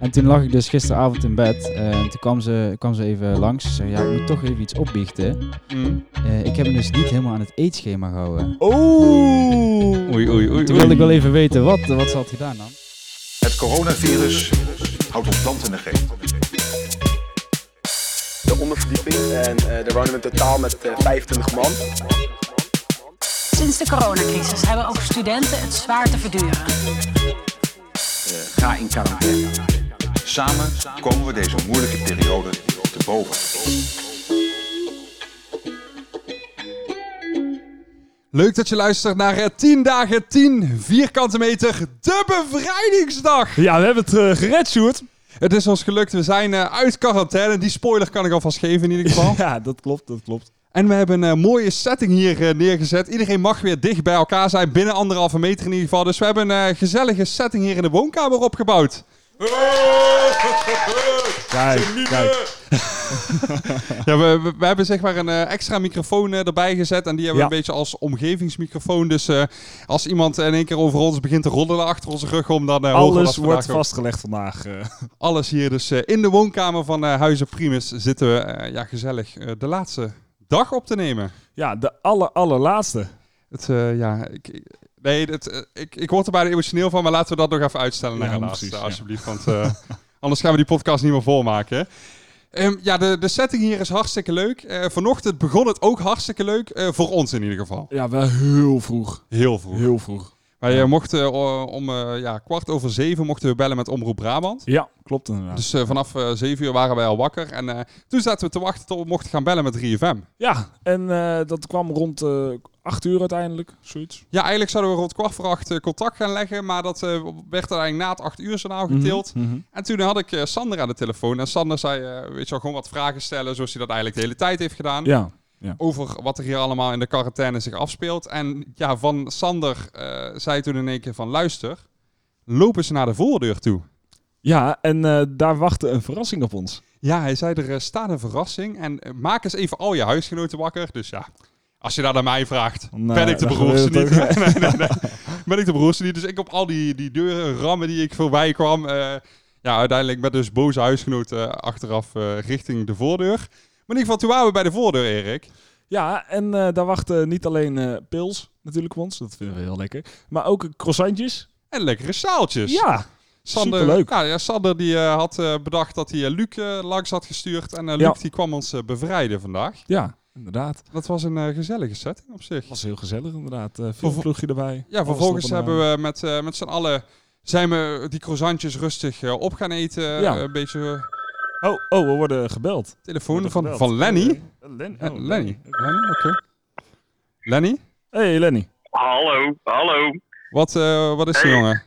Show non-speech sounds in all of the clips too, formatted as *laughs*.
En toen lag ik dus gisteravond in bed. eh, en toen kwam ze, kwam ze even langs. Ze zei, ja, ik moet toch even iets opbiechten. Eh, ik heb hem dus niet helemaal aan het eetschema gehouden. Oeh! Oei, oei, oei. Toen wilde ik wel even weten, wat, wat ze had gedaan dan? Het coronavirus houdt ons land in de greep. De onderverdieping. En eh daar wonen we in totaal met eh, 25 man. Sinds de coronacrisis hebben ook studenten het zwaar te verduren. Ga in quarantaine. Samen komen we deze moeilijke periode te boven. Leuk dat je luistert naar eh, 10 dagen 10 vierkante meter, de bevrijdingsdag. Ja, we hebben het eh, gered, Sjoerd. Het is ons gelukt, we zijn eh, uit quarantaine. Die spoiler kan ik alvast geven in ieder geval. *laughs* Ja, dat klopt, dat klopt. En we hebben een eh, mooie setting hier eh, neergezet. Iedereen mag weer dicht bij elkaar zijn, binnen anderhalve meter in ieder geval. Dus we hebben een eh, gezellige setting hier in de woonkamer opgebouwd. Kijk, kijk. Ja, we, we, we hebben zeg maar een eh, extra microfoon eh, erbij gezet. En die hebben we een Ja. beetje als omgevingsmicrofoon. Dus eh, als iemand in één keer over ons begint te roddelen achter onze rug om, dan eh, horen we dat Alles vandaag wordt ook. vastgelegd vandaag. eh. alles hier. Dus eh, in de woonkamer van eh, Huizen Primus zitten we eh, ja, gezellig eh, de laatste dag op te nemen. Ja, de aller, allerlaatste. Het, eh, ja, ik, ik- nee, het, eh, ik, ik word er bijna emotioneel van, maar laten we dat nog even uitstellen naar Ja, de laatste, precies, ja. alsjeblieft. Want eh, *laughs* anders gaan we die podcast niet meer volmaken. hè. Ehm, ja, de, de setting hier is hartstikke leuk. Eh, vanochtend begon het ook hartstikke leuk. eh, voor ons in ieder geval. Ja, wel heel vroeg. Heel vroeg. Heel vroeg. Wij eh, mochten eh, om eh, ja, kwart over zeven mochten we bellen met Omroep Brabant. Ja, klopt inderdaad. Dus eh, vanaf eh 7 uur waren wij al wakker. En eh, toen zaten we te wachten tot we mochten gaan bellen met 3FM. Ja, en eh, dat kwam rond eh acht uur uiteindelijk, zoiets. Ja, eigenlijk zouden we rond kwart voor acht eh, contact gaan leggen. Maar dat eh, werd er eigenlijk na het 8 uur Mhm. journaal getild. En toen had ik eh, Sander aan de telefoon. En Sander zei, eh, weet je wel, gewoon wat vragen stellen. Zoals hij dat eigenlijk de hele tijd heeft gedaan. Ja. Over wat er hier allemaal in de quarantaine zich afspeelt. En ja, van Sander eh, zei toen in één keer van, luister, lopen ze naar de voordeur toe. Ja, en eh, daar wachtte een verrassing op ons. Ja, hij zei er eh, staat een verrassing en eh, maak eens even al je huisgenoten wakker. Dus ja, als je dat aan mij vraagt, Nee, ben ik de dat beroerdste niet. eh, gebeurt nee, *laughs* nee, nee. Ben ik de beroerdste niet. Dus ik op al die, die deuren rammen die ik voorbij kwam. eh, ja, uiteindelijk met dus boze huisgenoten eh, achteraf eh, richting de voordeur. Maar in ieder geval, toen waren we bij de voordeur, Erik. Ja, en eh, daar wachten niet alleen eh, pils natuurlijk op ons, dat vinden we heel lekker, maar ook croissantjes. En lekkere zaaltjes. Ja, Sander, superleuk. Ja, ja, Sander die, eh, had eh, bedacht dat hij eh, Luc eh, langs had gestuurd. En eh, Luc Ja. die kwam ons eh, bevrijden vandaag. ja, inderdaad. Dat was een eh, gezellige setting op zich. Het was heel gezellig inderdaad. Eh Vervo- veel vloegje erbij. Ja, vervolgens hebben we met, eh, met z'n allen zijn we die croissantjes rustig eh, op gaan eten. Ja. Een beetje eh, Oh, oh, we worden gebeld. telefoon Wordt van, gebeld. van Lenny. Eh, Lenny. Ja, oh, Lenny. Lenny, oké. Lenny, Hey Lenny. Hallo, hallo. wat, eh, wat is er Hey. jongen?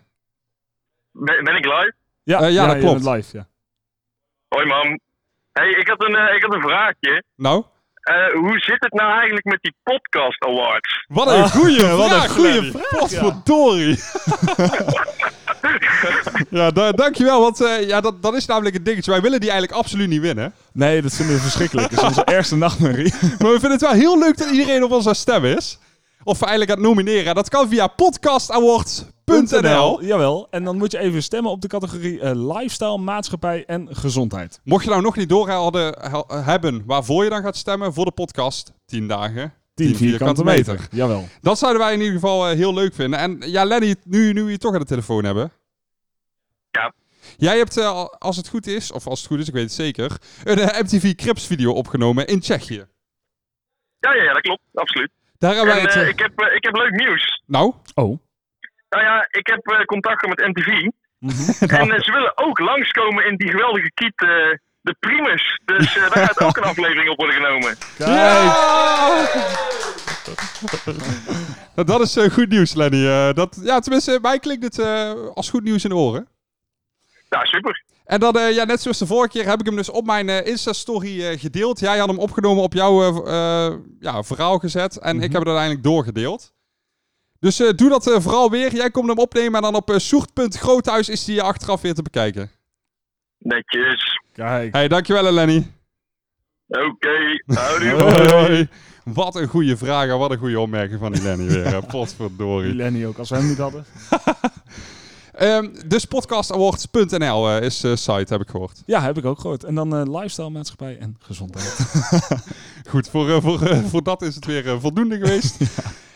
Ben, ben ik live? Ja, Eh, ja, dat je klopt. bent live, ja. Hoi mam. Hey, ik had een, eh, ik had een vraagje. Nou, Eh, hoe zit het nou eigenlijk met die podcast awards? wat een goeie wat een vraag, goeie Lenny. Potverdorie. *laughs* ja, da- dankjewel, want eh, ja, dat, dat is namelijk het dingetje. Wij willen die eigenlijk absoluut niet winnen. Nee, dat vinden we verschrikkelijk. Dat is *laughs* onze ergste nachtmerrie. Maar we vinden het wel heel leuk dat iedereen op ons aan stem is. Of we eigenlijk aan het nomineren. Dat kan via podcastawards.nl. Jawel. En dan moet je even stemmen op de categorie eh, lifestyle, maatschappij en gezondheid. Mocht je nou nog niet door hadden- he- hebben waarvoor je dan gaat stemmen voor de podcast, 10 dagen, 10 vierkante, meter. Jawel. Dat zouden wij in ieder geval eh, heel leuk vinden. En ja, Lenny, nu, nu we je toch aan de telefoon hebben. Ja. Jij hebt, eh, al- als het goed is, of als het goed is, ik weet het zeker, een eh, MTV Crips video opgenomen in Tsjechië. Ja, ja, ja dat klopt, absoluut. Daar hebben En, wij het... eh, eh, ik, heb, eh, ik heb leuk nieuws. Nou, Oh. Nou ja, ik heb eh, contact gehad met MTV. Mhm. *laughs* En eh, ze willen ook langskomen in die geweldige kiet, eh, de Primus. Dus eh, daar gaat ook *laughs* een aflevering op worden genomen. Ja! *laughs* Nou, dat is eh, goed nieuws, Lenny. Eh, dat, ja, tenminste, mij klinkt het eh, als goed nieuws in de oren. Ja, super. En dan, eh, ja, net zoals de vorige keer, heb ik hem dus op mijn eh, Insta-story eh, gedeeld. Jij had hem opgenomen op jouw eh, v- eh, ja, verhaal gezet. En ik heb het uiteindelijk doorgedeeld. Dus eh, doe dat eh, vooral weer. Jij komt hem opnemen en dan op eh, soert.groothuis is die achteraf weer te bekijken. Netjes. Kijk. Hey, dankjewel hè, Lenny. Oké, *laughs* Eh, houdoe. Hoi. Wat een goede vraag en *laughs* wat een goede opmerking van die Lenny weer. hè. Potverdorie. Lenny ook, als we hem niet hadden. Eh, Ehm, dus podcastawards.nl eh, is de site, heb ik gehoord. Ja, heb ik ook gehoord. En dan eh, lifestyle maatschappij en gezondheid. Goed, voor, eh, voor, eh, voor dat is het weer eh, voldoende *laughs* geweest.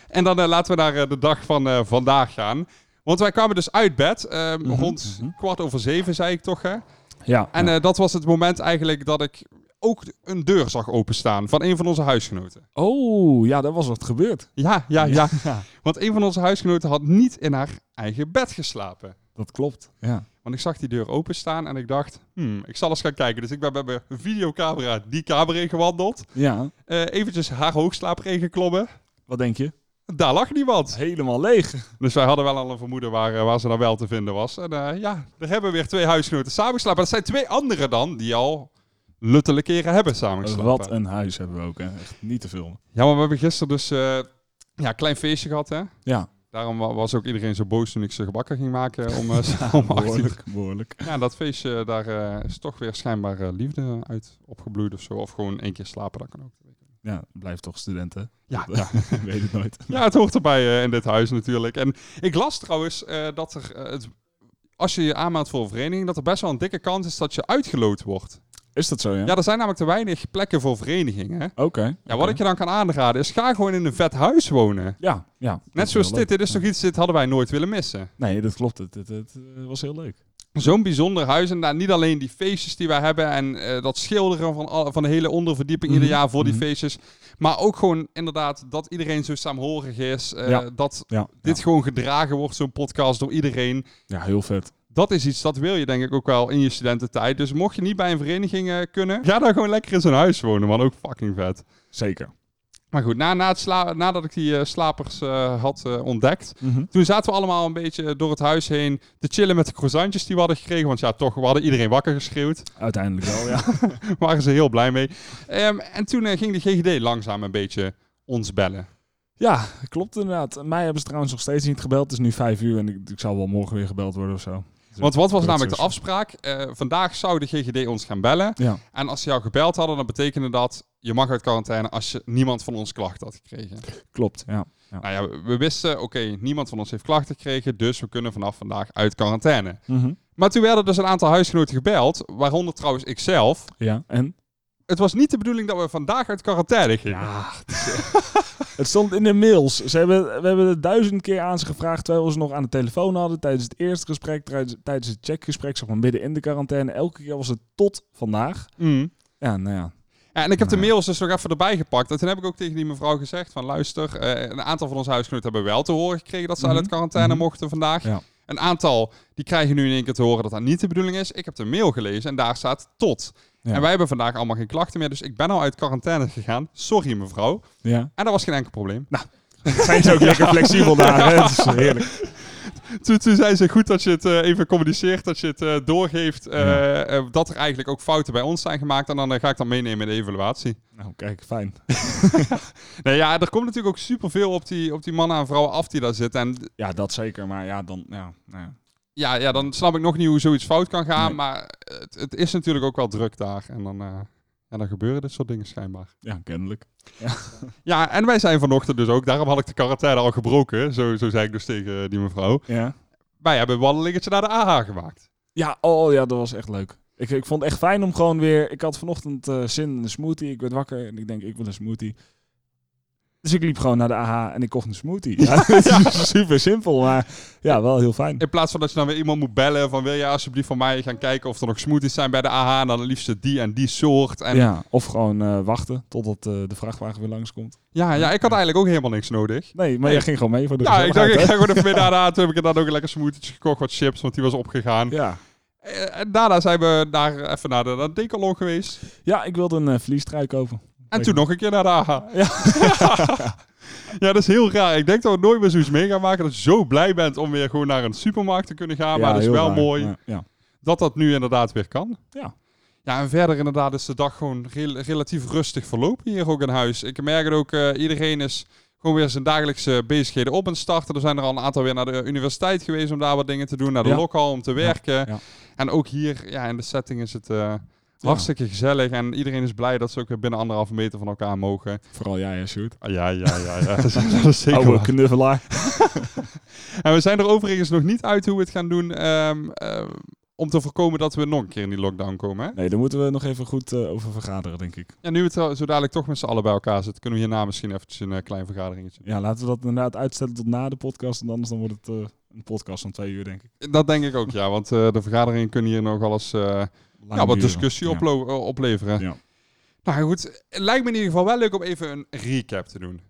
En dan eh, laten we naar eh, de dag van eh, vandaag gaan. Want wij kwamen dus uit bed, ehm, rond kwart over zeven, zei ik toch, hè? ja. En eh, dat was het moment eigenlijk dat ik ook een deur zag openstaan van een van onze huisgenoten. oh, ja, daar was wat gebeurd. Ja, ja, ja. Want een van onze huisgenoten had niet in haar eigen bed geslapen. Dat klopt. Ja. Want ik zag die deur openstaan en ik dacht, hmm, ik zal eens gaan kijken. Dus ik ben met mijn videocamera die kamer in gewandeld. Ja. Eh, eventjes haar hoogslaper ingeklommen. Wat denk je? Daar lag niemand. Helemaal leeg. Dus wij hadden wel al een vermoeden waar, eh, waar ze dan wel te vinden was. En eh, ja, er hebben weer twee huisgenoten samengeslapen. Maar dat zijn twee anderen dan die al luttele keren hebben samengeslapen. Wat een huis hebben we ook, hè. Echt niet te filmen. Ja, maar we hebben gisteren dus eh, ja, een klein feestje gehad, hè? Ja. Daarom wa- was ook iedereen zo boos toen ik ze gebakken ging maken *laughs* om, eh *laughs* om 18 uur. behoorlijk. Ja, dat feestje, daar eh, is toch weer schijnbaar eh, liefde uit opgebloeid of zo. Of gewoon één keer slapen, dat kan ook. Ja, blijf toch studenten. Ja, ja. *laughs* Weet het nooit. Ja, het hoort erbij eh, in dit huis natuurlijk. En ik las trouwens eh, dat er, eh, het, als je je aanmaakt voor een vereniging, dat er best wel een dikke kans is dat je uitgeloot wordt. Is dat zo, ja? Ja, er zijn namelijk te weinig plekken voor verenigingen. hè. Oké. Ja, wat ik je dan kan aanraden is, ga gewoon in een vet huis wonen. Ja, ja. Dat Net is zoals heel dit, leuk. dit is toch iets, dit hadden wij nooit willen missen. Nee, dat klopt. Het, het, het, eh, was heel leuk. Zo'n bijzonder huis. En daar niet alleen die feestjes die wij hebben. En eh, dat schilderen van, al- van de hele onderverdieping Mhm. ieder jaar voor die feestjes. Maar ook gewoon inderdaad dat iedereen zo saamhorig is. eh, Ja. Dat Ja, dit ja. gewoon gedragen wordt, zo'n podcast, door iedereen. ja heel vet. Dat is iets, dat wil je denk ik ook wel in je studententijd. Dus mocht je niet bij een vereniging eh, kunnen, ga daar gewoon lekker in zo'n huis wonen, man. Ook fucking vet. Zeker. Maar goed, na, na het sla- nadat ik die eh, slapers eh, had eh, ontdekt, Mhm. toen zaten we allemaal een beetje door het huis heen te chillen met de croissantjes die we hadden gekregen. Want ja, toch, we hadden iedereen wakker geschreeuwd. *laughs* Uiteindelijk wel, ja. waren ze heel blij mee. Ehm, en toen eh, ging de GGD langzaam een beetje ons bellen. *laughs* ja, klopt inderdaad. Mij hebben ze trouwens nog steeds niet gebeld. Het is nu vijf uur en ik, ik zal wel morgen weer gebeld worden of zo. Want wat was Dat namelijk de is- afspraak? Eh, vandaag zou de GGD ons gaan bellen. Ja. En als ze jou gebeld hadden, dan betekende dat je mag uit quarantaine als je niemand van ons klacht had gekregen. Klopt, ja. ja. Nou ja, we- we wisten, oké, niemand van ons heeft klachten gekregen, dus we kunnen vanaf vandaag uit quarantaine. Mhm. Maar toen werden dus een aantal huisgenoten gebeld, waaronder trouwens ikzelf. Ja, en? Het was niet de bedoeling dat we vandaag uit quarantaine gingen. Het stond in de mails. Ze hebben, we hebben het duizend keer aan ze gevraagd terwijl we ze nog aan de telefoon hadden. Tijdens het eerste gesprek, tijdens, tijdens het checkgesprek, zeg maar midden in de quarantaine. Elke keer was het tot vandaag. Mm. Ja, nou ja. Ja, en ik heb de mails dus nog even erbij gepakt. En toen heb ik ook tegen die mevrouw gezegd van luister, eh, een aantal van onze huisgenoten hebben wel te horen gekregen dat ze uit quarantaine mochten vandaag. Mhm. Ja. Een aantal die krijgen nu in één keer te horen dat dat niet de bedoeling is. Ik heb de mail gelezen en daar staat tot. Ja. En wij hebben vandaag allemaal geen klachten meer, dus ik ben al uit quarantaine gegaan. Sorry mevrouw. ja. En dat was geen enkel probleem. *laughs* Nou. Zijn ze ook lekker flexibel daar, hè? Het *laughs* is heerlijk. *laughs* Toen, toen zei ze goed dat je het eh, even communiceert, dat je het eh, doorgeeft, eh, eh, dat er eigenlijk ook fouten bij ons zijn gemaakt. En dan eh, ga ik dat meenemen in de evaluatie. Nou, kijk, fijn. Nou ja, er komt natuurlijk ook superveel op die, op die mannen en vrouwen af die daar zitten. En Ja, dat zeker. Maar ja, dan... Ja, nou ja. Ja, ja, dan snap ik nog niet hoe zoiets fout kan gaan. Nee. Maar het, het is natuurlijk ook wel druk daar. En dan, eh, ja, dan gebeuren dit soort dingen schijnbaar. ja kennelijk. Ja, en wij zijn vanochtend dus ook. Daarom had ik de quarantaine al gebroken. Zo, zo zei ik dus tegen eh, die mevrouw. Ja. Wij hebben een wandelingetje naar de AH gemaakt. Ja, oh ja, dat was echt leuk. Ik, ik vond het echt fijn om gewoon weer... Ik had vanochtend eh, zin in een smoothie. Ik werd wakker en ik denk, ik wil een smoothie. Dus ik liep gewoon naar de AH en ik kocht een *laughs* smoothie. Ja, *laughs* het is super simpel, maar ja, wel heel fijn. In plaats van dat je dan weer iemand moet bellen van... wil je alsjeblieft van mij gaan kijken of er nog smoothies zijn bij de AH... en dan het liefst die en die soort. En ja. Ja, of gewoon eh, wachten totdat eh, de vrachtwagen weer langskomt. Ja, ik had eigenlijk ook helemaal niks nodig. Nee, maar jij ging gewoon mee voor de Ja, ik dacht, ik gezelligheid, ga gewoon even mee naar de AH. Toen heb ik inderdaad ook een lekker smoothietje gekocht, wat chips, want die was opgegaan. hè? Ja. Eh, En daarna zijn we daar even naar de, naar de Decathlon geweest. ja, ik wilde een eh verliestrui kopen. En Ik- toen nog een keer naar de AHA. Ja. *laughs* dat is heel raar. Ik denk dat we nooit meer zoiets mee gaan maken. Dat je zo blij bent om weer gewoon naar een supermarkt te kunnen gaan. maar het is heel wel raar, mooi maar ja. dat dat nu inderdaad weer kan. Ja. Ja, en verder inderdaad is de dag gewoon rel- relatief rustig verlopen hier ook in huis. Ik merk het ook, eh, iedereen is gewoon weer zijn dagelijkse bezigheden op en starten. Er zijn er al een aantal weer naar de eh, universiteit geweest om daar wat dingen te doen. Naar de Ja. lokhal om te werken. ja. En ook hier, ja, in de setting is het... eh, Hartstikke gezellig en iedereen is blij dat ze ook weer binnen anderhalve meter van elkaar mogen. Vooral jij, hè, Sjoerd. Ah, ja, ja, ja, *laughs* ja. dat is zeker Oude waar. knuffelaar. En we zijn er overigens nog niet uit hoe we het gaan doen ehm, ehm, om te voorkomen dat we nog een keer in die lockdown komen. Hè? Nee, daar moeten we nog even goed eh, over vergaderen, denk ik. Ja, nu we het zo dadelijk toch met z'n allen bij elkaar zitten, kunnen we hierna misschien eventjes een eh, klein vergaderingetje doen. Ja, laten we dat inderdaad uitstellen tot na de podcast. En anders dan wordt het eh, een podcast van twee uur, denk ik. Dat denk ik ook, ja, want eh, de vergaderingen kunnen hier nog wel eens eh, Lang ja, wat duren. discussie Ja. oplo- eh, opleveren. Ja. Nou goed, het lijkt me in ieder geval wel leuk om even een recap te doen.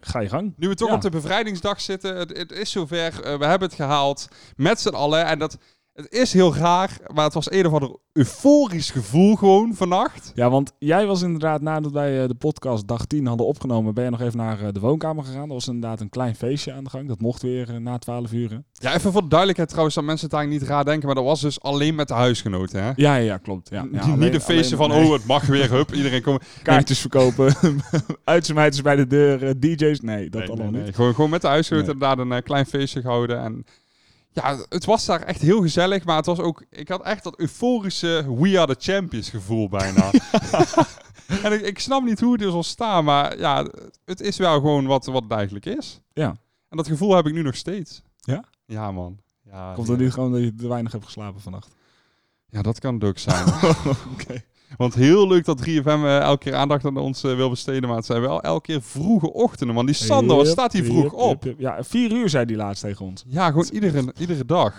Ga je gang. Nu we toch Ja. op de bevrijdingsdag zitten, het, het is zover, eh, we hebben het gehaald met z'n allen. En dat, het is heel raar, maar het was een of ander euforisch gevoel gewoon vannacht. Ja, want jij was inderdaad nadat wij eh, de podcast dag 10 hadden opgenomen, ben je nog even naar eh, de woonkamer gegaan. Er was inderdaad een klein feestje aan de gang. Dat mocht weer eh, na 12 uur. hè? Ja, even voor de duidelijkheid trouwens, dat mensen het eigenlijk niet raar denken, maar dat was dus alleen met de huisgenoten, hè? Ja, ja, ja, klopt. Ja, ja, Niet- alleen- niet de feesten alleen- van, nee. oh, het mag weer, hup, iedereen *laughs* komt. Kaartjes verkopen, *laughs* uitsmijters bij de deur, eh, DJ's. Nee, dat allemaal niet. Gewoon, gewoon met de huisgenoten Nee. inderdaad een eh, klein feestje gehouden. En ja, het was daar echt heel gezellig, maar het was ook... Ik had echt dat euforische We Are The Champions gevoel *laughs* bijna. *laughs* en ik, ik snap niet hoe het is ontstaan, maar ja, het is wel gewoon wat, wat het eigenlijk is. Ja. En dat gevoel heb ik nu nog steeds. Ja? Ja, man. Ja, Komt er nu gewoon dat je te weinig hebt geslapen vannacht? ja dat kan het ook zijn. *laughs* Oké. Want heel leuk dat 3FM eh, elke keer aandacht aan ons eh, wil besteden, maar het zijn wel elke keer vroege ochtenden. Man, die Sander, wat Yep, staat hij yep, vroeg yep, op? yep. Ja, vier uur zei die laatst tegen ons. Ja, gewoon iedere, iedere dag.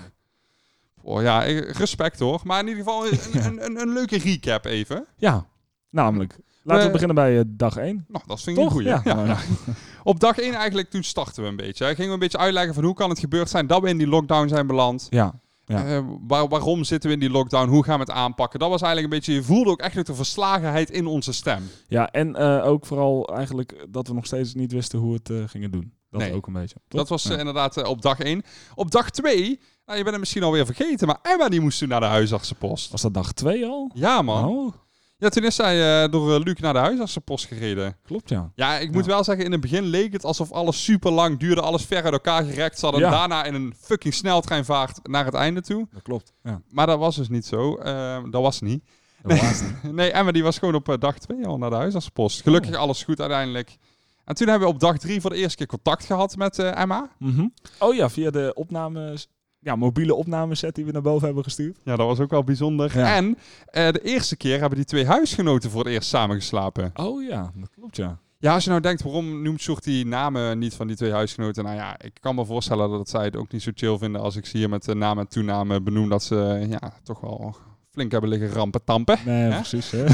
Oh ja, eh, respect hoor. Maar in ieder geval *laughs* een, een, een, een leuke recap even. Ja, namelijk. Laten Eh, we beginnen bij eh, dag 1. Nou, dat vind ik een Toch? goeie. Ja. Ja. nou, ja. Op dag 1 eigenlijk, toen starten we een beetje. Hè. Gingen we een beetje uitleggen van hoe kan het gebeurd zijn dat we in die lockdown zijn beland. ja. Ja. Eh, waar- waarom zitten we in die lockdown? Hoe gaan we het aanpakken? Dat was eigenlijk een beetje, je voelde ook echt nog de verslagenheid in onze stem. Ja, en eh, ook vooral eigenlijk dat we nog steeds niet wisten hoe we het eh, gingen doen. Dat Nee. ook een beetje. toch? Dat was eh, Ja. inderdaad eh, op dag 1. Op dag 2, nou, je bent het misschien alweer vergeten, maar Emma die moest toen naar de huisartsenpost. Was dat dag 2 al? Ja man. Oh, Ja, toen is zij eh, door eh, Luc naar de huisartsenpost gereden. klopt ja. Ja, ik moet wel zeggen, in het begin leek het alsof alles super lang duurde, alles ver uit elkaar gerekt zat en Ja. daarna in een fucking sneltreinvaart naar het einde toe. Dat klopt. Ja. Maar dat was dus niet zo. Ehm, dat was niet. *laughs* Dat was het. Nee, Emma die was gewoon op eh, dag 2 al naar de huisartsenpost. Gelukkig Oh. alles goed uiteindelijk. En toen hebben we op dag 3 voor de eerste keer contact gehad met eh, Emma. Mhm. Oh ja, via de opnames, ja, mobiele opnameset die we naar boven hebben gestuurd. Ja, dat was ook wel bijzonder. Ja. En eh, de eerste keer hebben die twee huisgenoten voor het eerst samengeslapen. Oh ja, dat klopt ja. Ja, als je nou denkt, waarom noemt Sjoerd die namen niet van die twee huisgenoten? Nou ja, ik kan me voorstellen dat zij het ook niet zo chill vinden als ik ze hier met de naam en toename benoem dat ze eh, ja, toch wel flink hebben liggen rampen tampen. Nee, Hè? precies. Hè?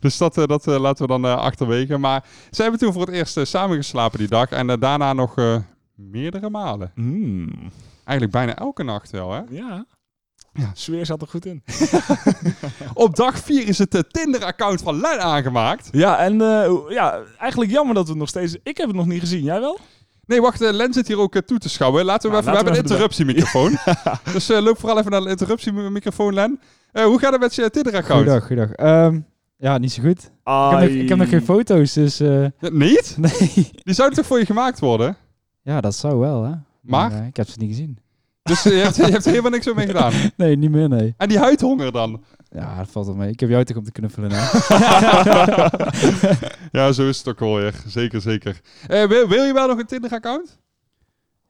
Dus dat, eh, dat eh, laten we dan eh, achterwege. Maar zij hebben toen voor het eerst eh, samengeslapen die dag en eh, daarna nog eh, meerdere malen. Hmm. Eigenlijk bijna elke nacht wel, hè? Ja. ja. Sfeer zat er goed in. Op dag 4 is het eh, Tinder-account van Len aangemaakt. Ja, en eh, ja, eigenlijk jammer dat we het nog steeds... Ik heb het nog niet gezien, jij wel? Nee, wacht, eh, Len zit hier ook eh, toe te schouwen. Laten we, Nou, even, we laten hebben een we interruptiemicrofoon. *laughs* dus eh, loop vooral even naar de interruptiemicrofoon, Len. Eh, hoe gaat het met je Tinder-account? Goeiedag, goeiedag. Ehm, ja, niet zo goed. Ik heb, nog, ik heb nog geen foto's, dus... eh, Ja, niet? *laughs* nee. Die zouden toch voor je gemaakt worden? Ja, dat zou wel, hè. Maar? eh, ik heb ze niet gezien. Dus eh, je, hebt, je hebt er helemaal niks mee gedaan. *laughs* Nee, niet meer, nee. En die huidhonger dan? Ja, dat valt wel mee. Ik heb jou toch om te knuffelen, hè. ja, zo is het ook wel weer. Zeker, zeker. Eh, wil, wil je wel nog een Tinder-account?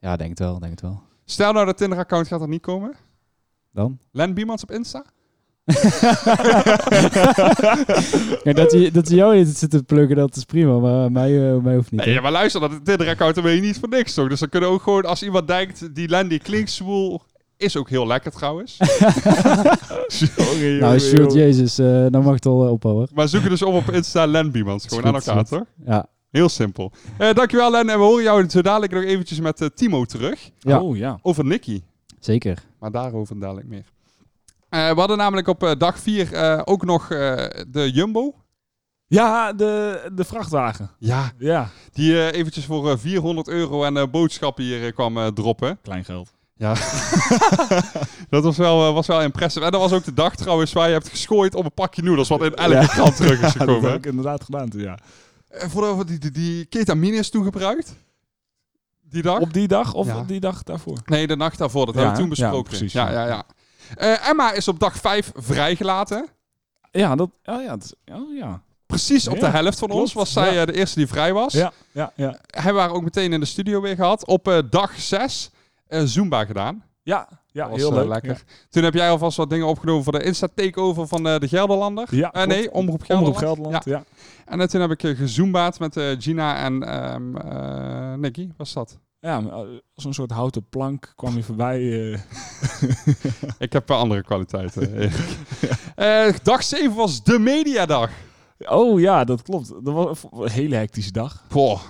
ja, denk het wel, denk het wel. Stel nou dat Tinder-account gaat er niet komen. Dan? Len Biemans op Insta? Ja, dat, je, dat ze jou in zit te pluggen, dat is prima, maar mij, eh, mij hoeft niet. Nee, ja, maar luister, dat Tinder-account daar ben je niet voor niks, toch? Dus dan kunnen ook gewoon, als iemand denkt, die Len die klinkt zwoel, is ook heel lekker *laughs* trouwens. nou, Sorry, jongen, Sjoerd, jongen. jezus, eh nou mag het al eh, ophouden. Maar zoek er dus op op Insta Len Biemans, gewoon aan goed, elkaar, is toch? Ja, Heel simpel. Eh, dankjewel Len, en we horen jou zo dadelijk nog eventjes met eh, Timo terug. Ja. Oh ja. Over Nicky, zeker. maar daarover dadelijk meer. Eh, we hadden namelijk op eh, dag 4 eh, ook nog eh, de Jumbo. Ja, de, de vrachtwagen. Ja, Ja. die eh, eventjes voor eh, 400 euro en boodschappen hier eh, kwam eh, droppen. Klein geld. Ja. dat was wel, eh, was wel impressive. En dat was ook de dag trouwens waar je hebt geschooid op een pakje noedels, wat in elke *laughs* Ja. krant terug is dat gekomen. heb ik inderdaad gedaan toen, ja. Eh, Voordat we die, die, die ketamine is toegebruikt. Die dag? Op die dag of Ja. op die dag daarvoor? Nee, de nacht daarvoor. Dat Ja, hebben we toen hè? Ja, besproken. Ja, precies, Ja, ja. ja, ja. Eh, Emma is op dag 5 vrijgelaten. Ja, dat... Oh ja, dat, oh ja. Precies op de Ja, helft van ons klopt. was zij Ja. eh, de eerste die vrij was. Ja, ja, ja. Hebben we haar ook meteen in de studio weer gehad. Op eh, dag 6 Zumba gedaan. Ja, ja was, heel eh, leuk. lekker. Toen heb jij alvast wat dingen opgenomen voor de Insta-takeover van eh, de Gelderlander. Ja, Eh, nee, klopt. Omroep Ja. Gelderland. Omroep Gelderland, ja. Ja. En eh, toen heb ik eh, gezoombaat met eh, Gina en ehm eh, Nicky. Was dat? Ja, maar, eh, als een soort houten plank kwam je voorbij. eh, Ik heb eh, andere *laughs* kwaliteiten. Erik. Eh, dag 7 was de mediadag. *laughs* Oh ja, dat klopt. Dat was een hele hectische dag. Boah,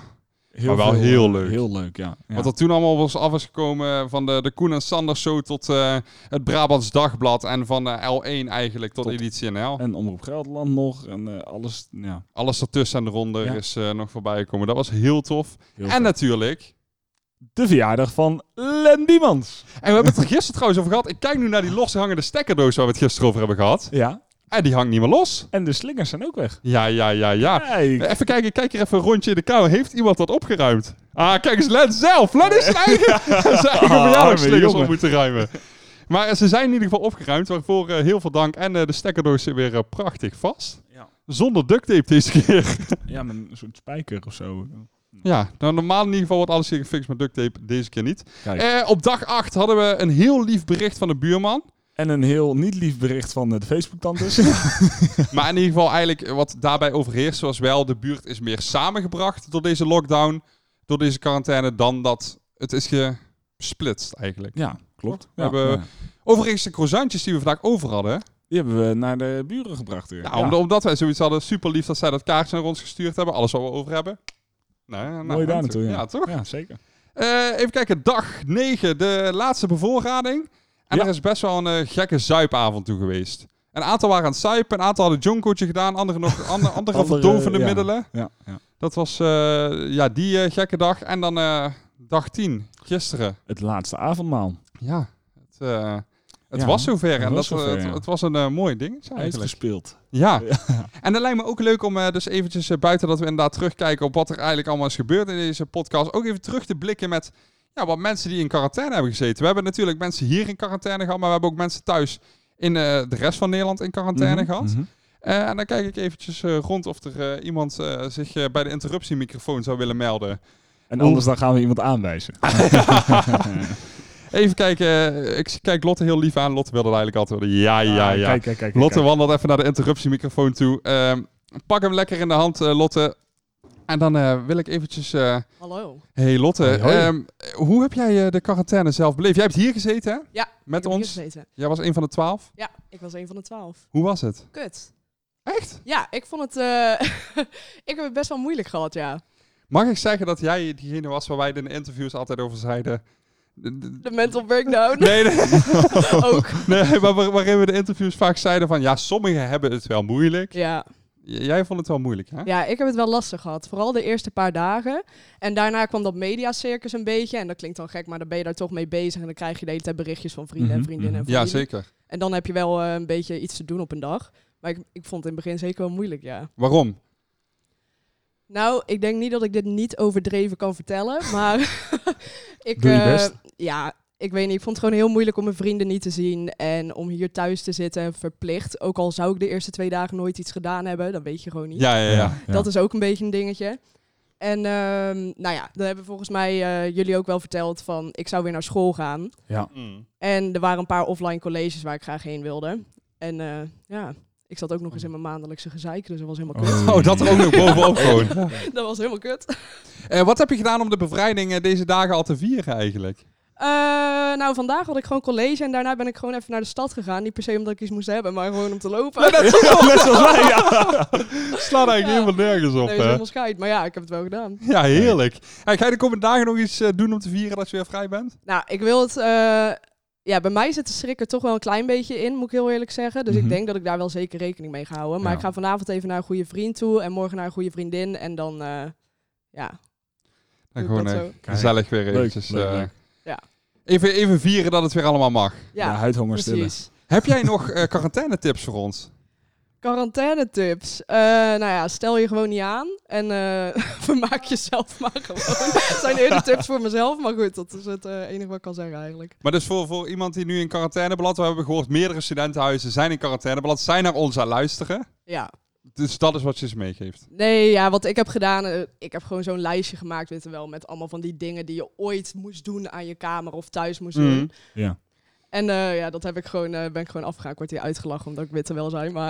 Heel Maar wel veel, heel eh, leuk. Heel leuk, ja. ja. wat er toen allemaal was af is gekomen eh, van de, de Koen en Sanders show tot eh, het Brabants Dagblad en van eh, L1 eigenlijk tot, Tot- Editie NL. En Omroep Gelderland nog en eh, alles. Ja, Alles ertussen en eronder Ja. is eh, nog voorbij gekomen. Dat was heel tof. heel en vet. natuurlijk... de verjaardag van Len Biemans. En we hebben het er gisteren trouwens over gehad. Ik kijk nu naar die loshangende stekkerdoos waar we het gisteren over hebben gehad. Ja. En die hangt niet meer los. En de slingers zijn ook weg. Ja, ja, ja, ja. Kijk. Even kijken, ik kijk hier even een rondje in de kamer. Heeft iemand dat opgeruimd? Ah, kijk eens, Len zelf. Len is zijn *laughs* eigen, zijn eigen Ah, verjaardagsslingers arme op moeten ruimen. Maar eh, ze zijn in ieder geval opgeruimd, waarvoor eh, heel veel dank. En eh, de stekkerdoos zit weer eh, prachtig vast. Ja. Zonder duct tape deze keer. *laughs* Ja, met een soort spijker of zo. ja, nou, normaal in ieder geval wordt alles hier gefixt met duct tape, deze keer niet. Kijk. Eh, op dag 8 hadden we een heel lief bericht van de buurman. En een heel niet lief bericht van eh, de Facebook-tantes. Maar in ieder geval eigenlijk eh, wat daarbij overheerst was wel... de buurt is meer samengebracht door deze lockdown, door deze quarantaine... dan dat het is gesplitst eigenlijk. ja, klopt. We Ja, hebben- ja. Overigens de croissantjes die we vandaag over hadden... Die hebben we naar de buren gebracht weer. Ja, om- Omdat wij zoiets hadden, super lief dat zij dat kaartje naar ons gestuurd hebben. Alles wat we over hebben. Nou, ja, nou, Mooi daar naartoe, ja. Ja, toch? Ja, zeker. Eh, even kijken, dag 9, de laatste bevoorrading. En Ja. er is best wel een eh, gekke zuipavond toe geweest. Een aantal waren aan het zuipen, een aantal hadden jonkootje gedaan, anderen nog andere, *laughs* andere, verdovende ja. middelen. Ja, ja. Dat was eh, ja, die eh, gekke dag. En dan eh, dag 10, gisteren. Het laatste avondmaal. Ja, het, eh, het Ja, was zover. het en was dat, zover, het, ja. het was een eh, mooi ding eigenlijk. Uitgespeeld. *laughs* Ja. En dat lijkt me ook leuk om eh, dus eventjes eh, buiten dat we inderdaad terugkijken op wat er eigenlijk allemaal is gebeurd in deze podcast. Ook even terug te blikken met ja, wat mensen die in quarantaine hebben gezeten. We hebben natuurlijk mensen hier in quarantaine gehad, maar we hebben ook mensen thuis in eh, de rest van Nederland in quarantaine Mhm, gehad. mhm. Eh, en dan kijk ik eventjes eh, rond of er eh, iemand eh, zich eh, bij de interruptiemicrofoon zou willen melden. En anders dan gaan we iemand aanwijzen. Even kijken. eh, Ik kijk Lotte heel lief aan. Lotte wilde het eigenlijk altijd willen. Ja, ja, ja. Kijk, kijk, kijk. Lotte kijk. wandelt even naar de interruptiemicrofoon toe. Ehm, pak hem lekker in de hand, eh, Lotte. En dan eh, wil ik eventjes... eh, Hallo. hey Lotte, Hoi, hoi. ehm, hoe heb jij eh, de quarantaine zelf beleefd? Jij hebt hier gezeten, hè? Ja, Met ik heb hier ons? gezeten. Jij was een van de twaalf. Ja, ik was een van de twaalf. Hoe was het? Kut. Echt? Ja, ik vond het. eh, *laughs* ik heb het best wel moeilijk gehad, ja. Mag ik zeggen dat jij diegene was waar wij in de interviews altijd over zeiden... D- d- De mental *laughs* breakdown Nee, nee, *laughs* ook. nee maar waar- waarin we de interviews vaak zeiden van... Ja, sommigen hebben het wel moeilijk. Ja. J- Jij vond het wel moeilijk, hè? ja, ik heb het wel lastig gehad. Vooral de eerste paar dagen. En daarna kwam dat mediacircus een beetje. En dat klinkt dan gek, maar dan ben je daar toch mee bezig. En dan krijg je de hele tijd berichtjes van vrienden en Mhm, vriendinnen. en mhm. Ja, familie. zeker. En dan heb je wel eh, een beetje iets te doen op een dag. Maar ik, ik vond het in het begin zeker wel moeilijk, ja. Waarom? Nou, ik denk niet dat ik dit niet overdreven kan vertellen, maar *laughs* ik, Doe je eh, best. ja, ik weet niet. Ik vond het gewoon heel moeilijk om mijn vrienden niet te zien en om hier thuis te zitten verplicht. Ook al zou ik de eerste twee dagen nooit iets gedaan hebben, dat weet je gewoon niet. Ja, ja, ja. Dat is ook een beetje een dingetje. En ehm, nou ja, dan hebben volgens mij eh, jullie ook wel verteld van ik zou weer naar school gaan. En er waren een paar offline colleges waar ik graag heen wilde. En eh, ja, ik zat ook nog eens in mijn maandelijkse gezeik, dus dat was helemaal kut. *laughs* Oh, dat er ook nog *laughs* bovenop gewoon. Dat was helemaal kut. *laughs* Eh, wat heb je gedaan om de bevrijding eh, deze dagen al te vieren *laughs* eigenlijk? Eh, nou, vandaag had ik gewoon college en daarna ben ik gewoon even naar de stad gegaan. Niet per se omdat ik iets moest hebben, maar gewoon om te lopen. *laughs* Nee, dat is Net zoals wij, ja. *laughs* Slaat eigenlijk Ja. helemaal nergens op, eh, hè? helemaal schijt. Maar ja, ik heb het wel gedaan. Ja, heerlijk. Hey, ga je de komende dagen nog iets eh, doen om te vieren dat je weer vrij bent? Nou, ik wil het... eh, ja, bij mij zit de schrik er toch wel een klein beetje in, moet ik heel eerlijk zeggen. Dus Mhm. ik denk dat ik daar wel zeker rekening mee ga houden. Maar Ja. ik ga vanavond even naar een goede vriend toe en morgen naar een goede vriendin. En dan, eh, ja, En doe gewoon ik dat eh, zo. gezellig weer Leuk, eventjes. leuk, eh, leuk. Ja. even, even vieren dat het weer allemaal mag. Ja, huidhonger stillen. precies. Heb jij nog eh quarantaine tips voor ons? Quarantainetips. Eh, nou ja, stel je gewoon niet aan en eh, *laughs* vermaak jezelf maar gewoon. Dat zijn eerder tips voor mezelf, maar goed, dat is het eh, enige wat ik kan zeggen eigenlijk. Maar dus voor, voor iemand die nu in quarantaine belandt, we hebben gehoord, meerdere studentenhuizen zijn in quarantaine beland, zijn naar ons aan luisteren. Ja. Dus dat is wat je ze meegeeft. Nee, ja, wat ik heb gedaan, eh, ik heb gewoon zo'n lijstje gemaakt, weet je wel, met allemaal van die dingen die je ooit moest doen aan je kamer of thuis moest Mhm. doen. Mm. Ja. En eh, ja, dat heb ik gewoon, eh, ben ik gewoon afgegaan. Ik word hier uitgelachen omdat ik witte wel zijn, maar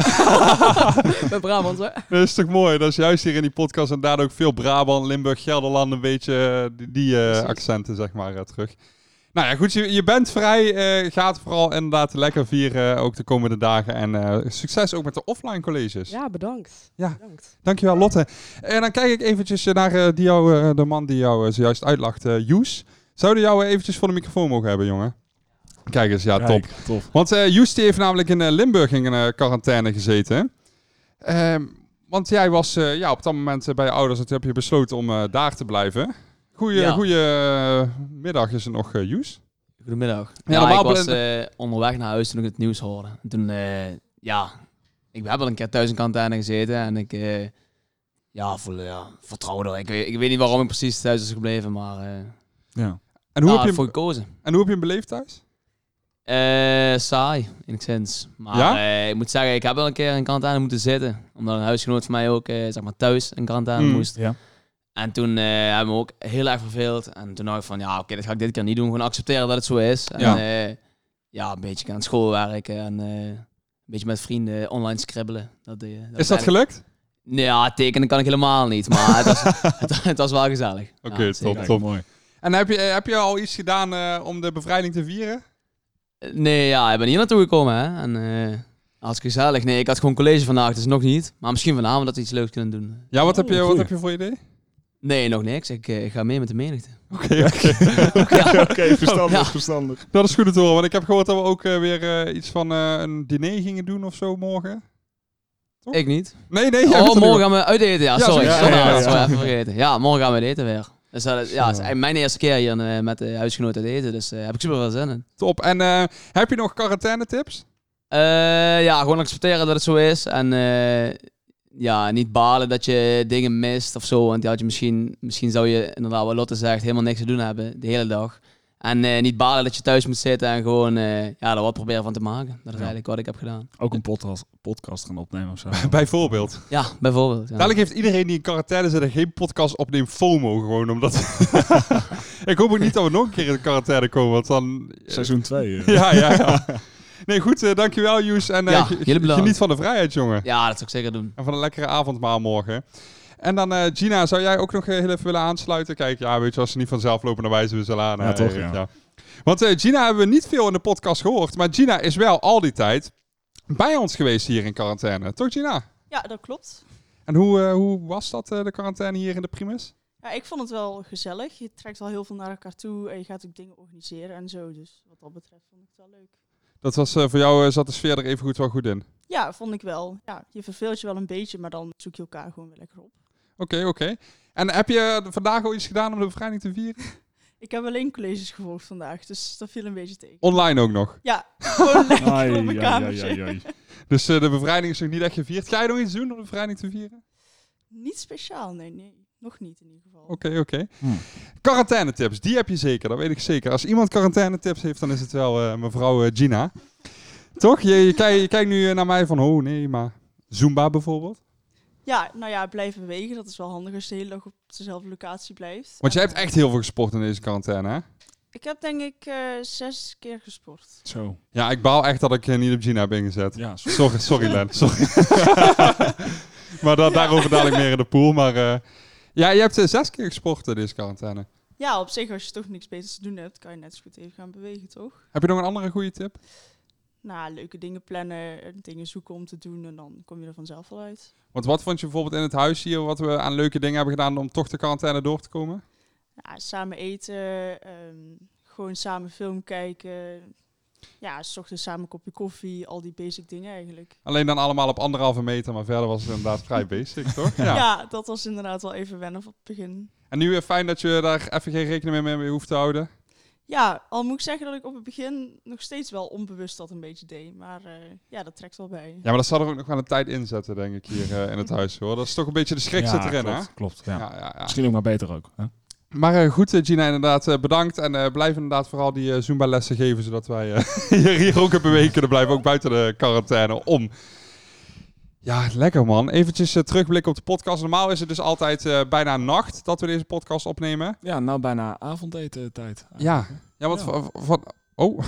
ik ben Brabant, hè? Dat is toch mooi? Dat is juist hier in die podcast en daar ook veel Brabant, Limburg, Gelderland, een beetje eh, die, die, eh, accenten zeg maar eh, terug. Nou ja, goed, je, je bent vrij. eh, ga het vooral inderdaad lekker vieren, eh, ook de komende dagen. En eh, succes ook met de offline colleges. Ja, bedankt. Ja. Bedankt. Dankjewel, Lotte. En dan kijk ik eventjes eh, naar eh, die jou, eh, de man die jou eh, zojuist uitlacht, eh Joes. Zouden jou eh, eventjes voor de microfoon mogen hebben, jongen? Kijk eens, ja, top. Kijk, *laughs* tof. Want eh Joes die heeft namelijk in eh, Limburg in eh, quarantaine gezeten. Ehm, want jij was eh, ja, op dat moment eh, bij je ouders en toen heb je besloten om eh, daar te blijven. Goeie, Ja. goeie eh, middag is er nog, eh, Joes. Goedemiddag. Ja, Ja, normaal ik was blend- eh, onderweg naar huis toen ik het nieuws hoorde. En toen, eh, ja, ik heb al een keer thuis in quarantaine gezeten en ik, eh, ja, voel, ja, vertrouwde er. Ik, weet- ik weet niet waarom ik precies thuis is gebleven, maar eh Ja. En hoe, ah, heb je voor hem, gekozen. en hoe heb je hem beleefd thuis? Eh, saai, in het zins. Maar Ja? eh, ik moet zeggen, ik heb wel een keer in quarantaine moeten zitten. Omdat een huisgenoot van mij ook eh, zeg maar thuis in quarantaine Hmm. moest. Ja. En toen eh hebben we ook heel erg verveeld. En toen dacht ik van, ja oké, dat ga ik dit keer niet doen. Gewoon accepteren dat het zo is. En, Ja. eh, ja, een beetje aan school werken. En eh, een beetje met vrienden online scribbelen. Dat, deed- Is dat eigenlijk- gelukt? Nee, ja, tekenen kan ik helemaal niet. Maar het was, *laughs* het, het was wel gezellig. Oké, Ja, top, zeker. top. Mooi. En heb je, eh, heb je al iets gedaan eh, om de bevrijding te vieren? Nee, ja, ik ben hier naartoe gekomen, hè. En eh hartstikke gezellig. Nee, ik had gewoon college vandaag, dus nog niet. Maar misschien vanavond dat we iets leuks kunnen doen. Ja, wat, heb, je, wat goeie. heb je voor idee? Nee, nog niks. Ik eh, ga mee met de menigte. Oké, *laughs* oké. Oké, verstandig, Ja. verstandig. *laughs* dat is goed te horen. Want ik heb gehoord dat we ook eh, weer eh, iets van eh, een diner gingen doen of zo morgen. Ik niet. Nee, nee. jij bent er Oh, niet morgen gaan we uit eten. Ja, Ja, sorry. sorry. Ja, Ja, ja, Dat is ja. wel even vergeten. Ja, morgen gaan we uit eten weer. Dus dat, is- ja, het is Zo. eigenlijk mijn eerste keer hier eh, met de huisgenoten uit eten. Dus eh, heb ik super veel zin in. Top. En eh, heb je nog quarantaine tips? Eh, ja, gewoon accepteren dat het zo is. En eh, ja, niet balen dat je dingen mist of zo. Want die had je misschien, misschien zou je inderdaad, wat Lotte zegt, helemaal niks te doen hebben de hele dag. En eh, niet balen dat je thuis moet zitten en gewoon eh, ja, er wat proberen van te maken. Dat is Ja. eigenlijk wat ik heb gedaan. Ook een podcast, podcast gaan opnemen of zo. Bijvoorbeeld. Ja, bijvoorbeeld. Ja. Dadelijk heeft iedereen die in quarantaine zit en geen podcast opneemt FOMO gewoon. *laughs* Omdat... ik hoop ook niet dat we nog een keer in de quarantaine komen, want dan... Seizoen *laughs* eh. 2. Ja, ja, ja. Nee, goed. eh, dankjewel, Joes. En eh, Ja, ge- jullie bedankt. geniet van de vrijheid, jongen. Ja, dat zou ik zeker doen. En van een lekkere avondmaal morgen. En dan, eh, Gina, zou jij ook nog eh, heel even willen aansluiten? Kijk, ja, weet je, als ze niet vanzelf lopen, dan wijzen we ze wel aan. Ja, eh, toch, Erik, ja. Want eh, Gina hebben we niet veel in de podcast gehoord. Maar Gina is wel al die tijd bij ons geweest hier in quarantaine. Toch, Gina? Ja, dat klopt. En hoe, eh, hoe was dat, eh, de quarantaine hier in de Primus? Ja, ik vond het wel gezellig. Je trekt al heel veel naar elkaar toe en je gaat ook dingen organiseren en zo. Dus wat dat betreft vond ik het wel leuk. Dat was eh, voor jou, eh, zat de sfeer er even goed wel goed in. Ja, vond ik wel. Ja, je verveelt je wel een beetje, maar dan zoek je elkaar gewoon weer lekker op. Oké, oké. En heb je vandaag al iets gedaan om de bevrijding te vieren? Ik heb alleen colleges gevolgd vandaag, dus dat viel een beetje *laughs* tegen. Online ook nog. Ja, gewoon lekker op mijn ja, kamertje. Dus eh, de bevrijding is nog niet echt gevierd. Ga je nog iets doen om de bevrijding te vieren? Niet speciaal, nee, nee. Nog niet in ieder geval. Oké, oké. Hmm. Quarantaine tips, die heb je zeker, dat weet ik zeker. Als iemand quarantaine tips heeft, dan is het wel eh, mevrouw eh, Gina. Toch? Je, je, kijkt, je kijkt nu eh, naar mij van, oh nee, maar Zumba bijvoorbeeld. Ja, nou ja, blijf bewegen. Dat is wel handig als je de hele dag op dezelfde locatie blijft. Want jij En, hebt echt heel veel gesport in deze quarantaine, hè? Ik heb denk ik eh, zes keer gesport. Zo. Ja, ik baal echt dat ik eh, niet op Gina heb ingezet. Ja, sorry. Sorry, sorry Len. Sorry. *laughs* maar da daarover dadelijk meer in de pool. Maar eh, ja, je hebt eh, zes keer gesport in deze quarantaine. Ja, op zich als je toch niks beters te doen hebt, kan je net zo goed even gaan bewegen, toch? Heb je nog een andere goede tip? Nou, leuke dingen plannen, eh, dingen zoeken om te doen en dan kom je er vanzelf wel uit. Want wat vond je bijvoorbeeld in het huis hier, wat we aan leuke dingen hebben gedaan om toch de quarantaine door te komen? Ja, samen eten, ehm, gewoon samen film kijken. Ja, s ochtends samen een kopje koffie, al die basic dingen eigenlijk. Alleen dan allemaal op anderhalve meter, maar verder was het inderdaad vrij basic, toch? Ja. eh, Ja. dat was inderdaad wel even wennen op het begin. En nu weer fijn dat je daar even geen rekening mee, mee hoeft te houden. Ja, al moet ik zeggen dat ik op het begin nog steeds wel onbewust dat een beetje deed. Maar eh, ja, dat trekt wel bij. Ja, maar dat zal er ook nog wel een tijd in zetten, denk ik, hier eh, in het huis. Hoor. Dat is toch een beetje de schrik Ja, zit erin, klopt, hè? klopt, ja. ja, ja. Misschien ook maar beter ook. Hè? Maar eh, goed, eh, Gina, inderdaad, eh, bedankt. En eh, blijf inderdaad vooral die eh, Zumba-lessen geven, zodat wij eh, *laughs* hier, hier ook een bewegen kunnen blijven, ook buiten de quarantaine om. Ja, lekker man. Eventjes eh, terugblikken op de podcast. Normaal is het dus altijd eh, bijna nacht dat we deze podcast opnemen. Ja, nou bijna avondeten tijd. Ja, ja want van... van- oh.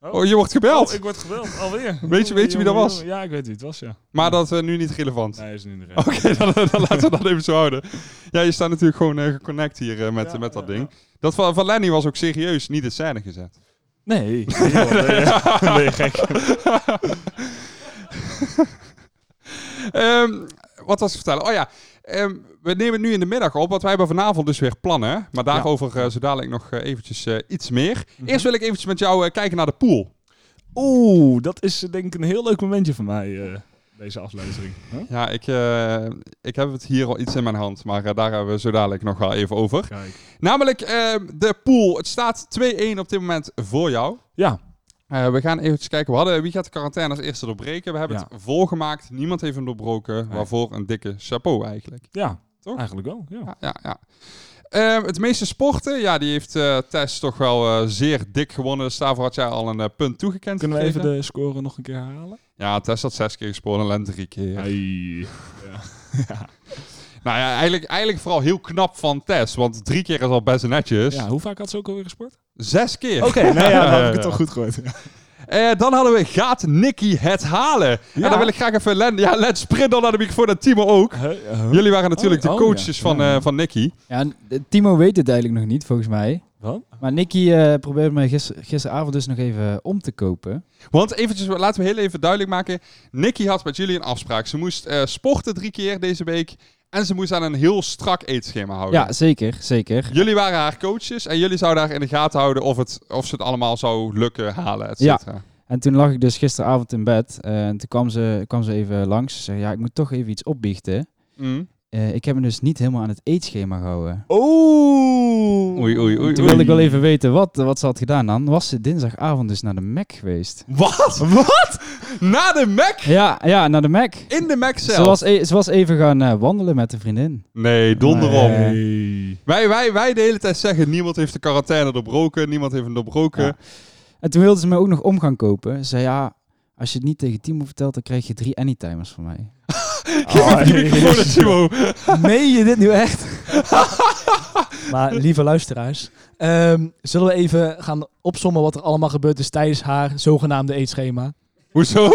oh, je wordt gebeld. Oh, ik word gebeld, alweer. *laughs* Weet je- weet je wie dat Jongen, was? jongen. Ja, ik weet wie het was, ja. Oh, Maar dat is nu niet relevant. *laughs* Nee, is niet *laughs* Oké, relevant. dan, dan laten we dat even zo houden. Ja, je staat natuurlijk gewoon eh, geconnect hier eh, met, met dat ding. Dat van, van Lenny was ook serieus niet in scène gezet. Nee. *laughs* joh, ben je- ben je gek? Ehm, wat was ik vertellen? Oh ja, ehm, we nemen nu in de middag op, want wij hebben vanavond dus weer plannen. Maar daarover eh, zo dadelijk nog eh, eventjes eh, iets meer. Eerst wil ik eventjes met jou eh, kijken naar de pool. Oeh, dat is eh, denk ik een heel leuk momentje voor mij, eh, deze aflevering. Huh? Ja, ik, eh, ik heb het hier al iets in mijn hand, maar eh, daar hebben we zo dadelijk nog wel even over. Kijk. Namelijk eh, de pool. Het staat 2-1 op dit moment voor jou. Ja. Eh, we gaan eventjes kijken. We hadden, wie gaat de quarantaine als eerste doorbreken? We hebben Ja. het volgemaakt. Niemand heeft hem doorbroken. Nee. Waarvoor een dikke chapeau eigenlijk. Ja, Toch? eigenlijk wel. Ja. Ja, ja. ja. Ehm, het meeste sporten, ja, die heeft eh Tess toch wel eh, zeer dik gewonnen. Dus daarvoor had jij al een eh, punt toegekend Kunnen we even gekregen. de score nog een keer herhalen? Ja, Tess had zes keer gespoord en Len drie keer. Ai. Ja. Nou ja, eigenlijk, eigenlijk vooral heel knap van Tess. Want drie keer is al best netjes. Ja, hoe vaak had ze ook alweer gesport? Zes keer. Oké, *laughs* nou ja, dan heb ik het Ja. toch goed gehoord. Ja. Eh, dan hadden we, gaat Nicky het halen? En dan wil ik graag even, Len, ja, Len sprint dan naar de microfoon en Timo ook. Jullie waren natuurlijk Oh, de oh, ja. coaches van, eh, van Nicky. Ja, en, eh, Timo weet het eigenlijk nog niet, volgens mij. Wat? Maar Nicky eh, probeerde me gister, gisteravond dus nog even om te kopen. Want eventjes, laten we heel even duidelijk maken. Nicky had met jullie een afspraak. Ze moest eh, sporten drie keer deze week. En ze moest aan een heel strak eetschema houden. Ja, zeker, zeker. Jullie waren haar coaches en jullie zouden haar in de gaten houden of, het, of ze het allemaal zou lukken halen, et cetera. En toen lag ik dus gisteravond in bed. eh, en toen kwam ze, kwam ze even langs. Ze zei, ja, ik moet toch even iets opbiechten. Mm. Eh, ik heb hem dus niet helemaal aan het eetschema gehouden. Oeh. Oei, oei, oei. Toen wilde ik wel even weten wat, wat ze had gedaan dan. Was ze dinsdagavond dus naar de Mac geweest? Wat? Wat? Na de Mac? Ja, ja naar de Mac. In de Mac zelf? Ze was, e- ze was even gaan eh, wandelen met een vriendin. Nee, donder om. Nee. Wij, wij, wij de hele tijd zeggen, niemand heeft de quarantaine doorbroken, niemand heeft hem doorbroken. Ja. En toen wilde ze me ook nog om gaan kopen. Ze zei, ja, als je het niet tegen Timo vertelt, dan krijg je drie anytimers van mij. Oh, Gewoon een Timo. Meen je dit nu echt? *laughs* maar lieve luisteraars, ehm, zullen we even gaan opsommen wat er allemaal gebeurd is tijdens haar zogenaamde eetschema? Hoezo?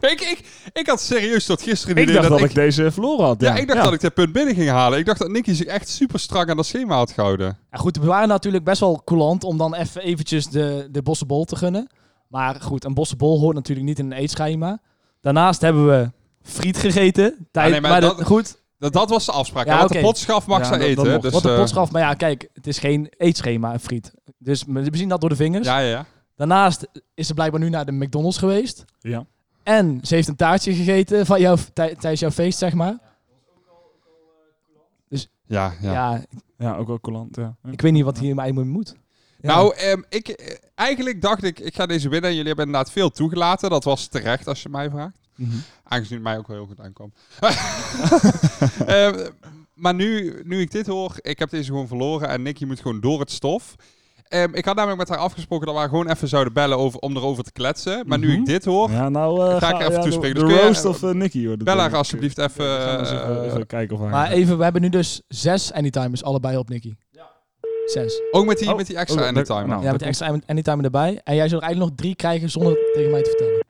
ik, ik, ik had serieus tot gisteren het Ik idee dacht dat ik... ik deze verloren had. Ja, ik dacht dat ik dit punt binnen ging halen. Ik dacht dat Nicky zich echt super strak aan dat schema had gehouden. Ja, goed, we waren natuurlijk best wel coulant om dan even eventjes de, de bossenbol te gunnen. Maar goed, een bossenbol hoort natuurlijk niet in een eetschema. Daarnaast hebben we friet gegeten. Tijd, Ah, nee, maar maar dat- de- goed, Dat, dat was de afspraak. Ja, hè? Want oké. de potschaf mag Ja, zij dat- dat eten. mocht. dus, wat een eh, potschaf. Maar ja, kijk, het is geen eetschema, een friet. Dus we we zien dat door de vingers. Ja, ja, ja. Daarnaast is ze blijkbaar nu naar de McDonald's geweest. Ja. En ze heeft een taartje gegeten van jou, tij- tijdens jouw feest, zeg maar. Ja, ja. Ja, Ja, ook wel coulant, ja. Ja. ik weet niet wat hier mij mee moet. Ja. Nou, ehm, ik, eh, eigenlijk dacht ik, ik ga deze winnen. Jullie hebben inderdaad veel toegelaten. Dat was terecht, als je mij vraagt. Mhm. Aangezien het mij ook wel heel goed *laughs* aankwam. Ehm, maar nu, nu ik dit hoor, ik heb deze gewoon verloren. En Nicky moet gewoon door het stof. Ehm, ik had namelijk met haar afgesproken dat we haar gewoon even zouden bellen over, om erover te kletsen. Maar nu Mhm. ik dit hoor, Ja, nou... eh, Ga ik er even ja, toespreken. De, Dus de kun je- roast of eh, Nicky, hoor. dat bel denk haar ik. alsjeblieft even. We gaan eens even, eh, even kijken of haar... Maar even, we hebben nu dus zes anytimers allebei op, Nicky. Ja. Zes. ook met die, Oh, met die extra oh, en de dat- timer. nou. Ja, dat met de extra anytimer erbij. En jij zou er eigenlijk nog drie krijgen zonder het tegen mij te vertellen.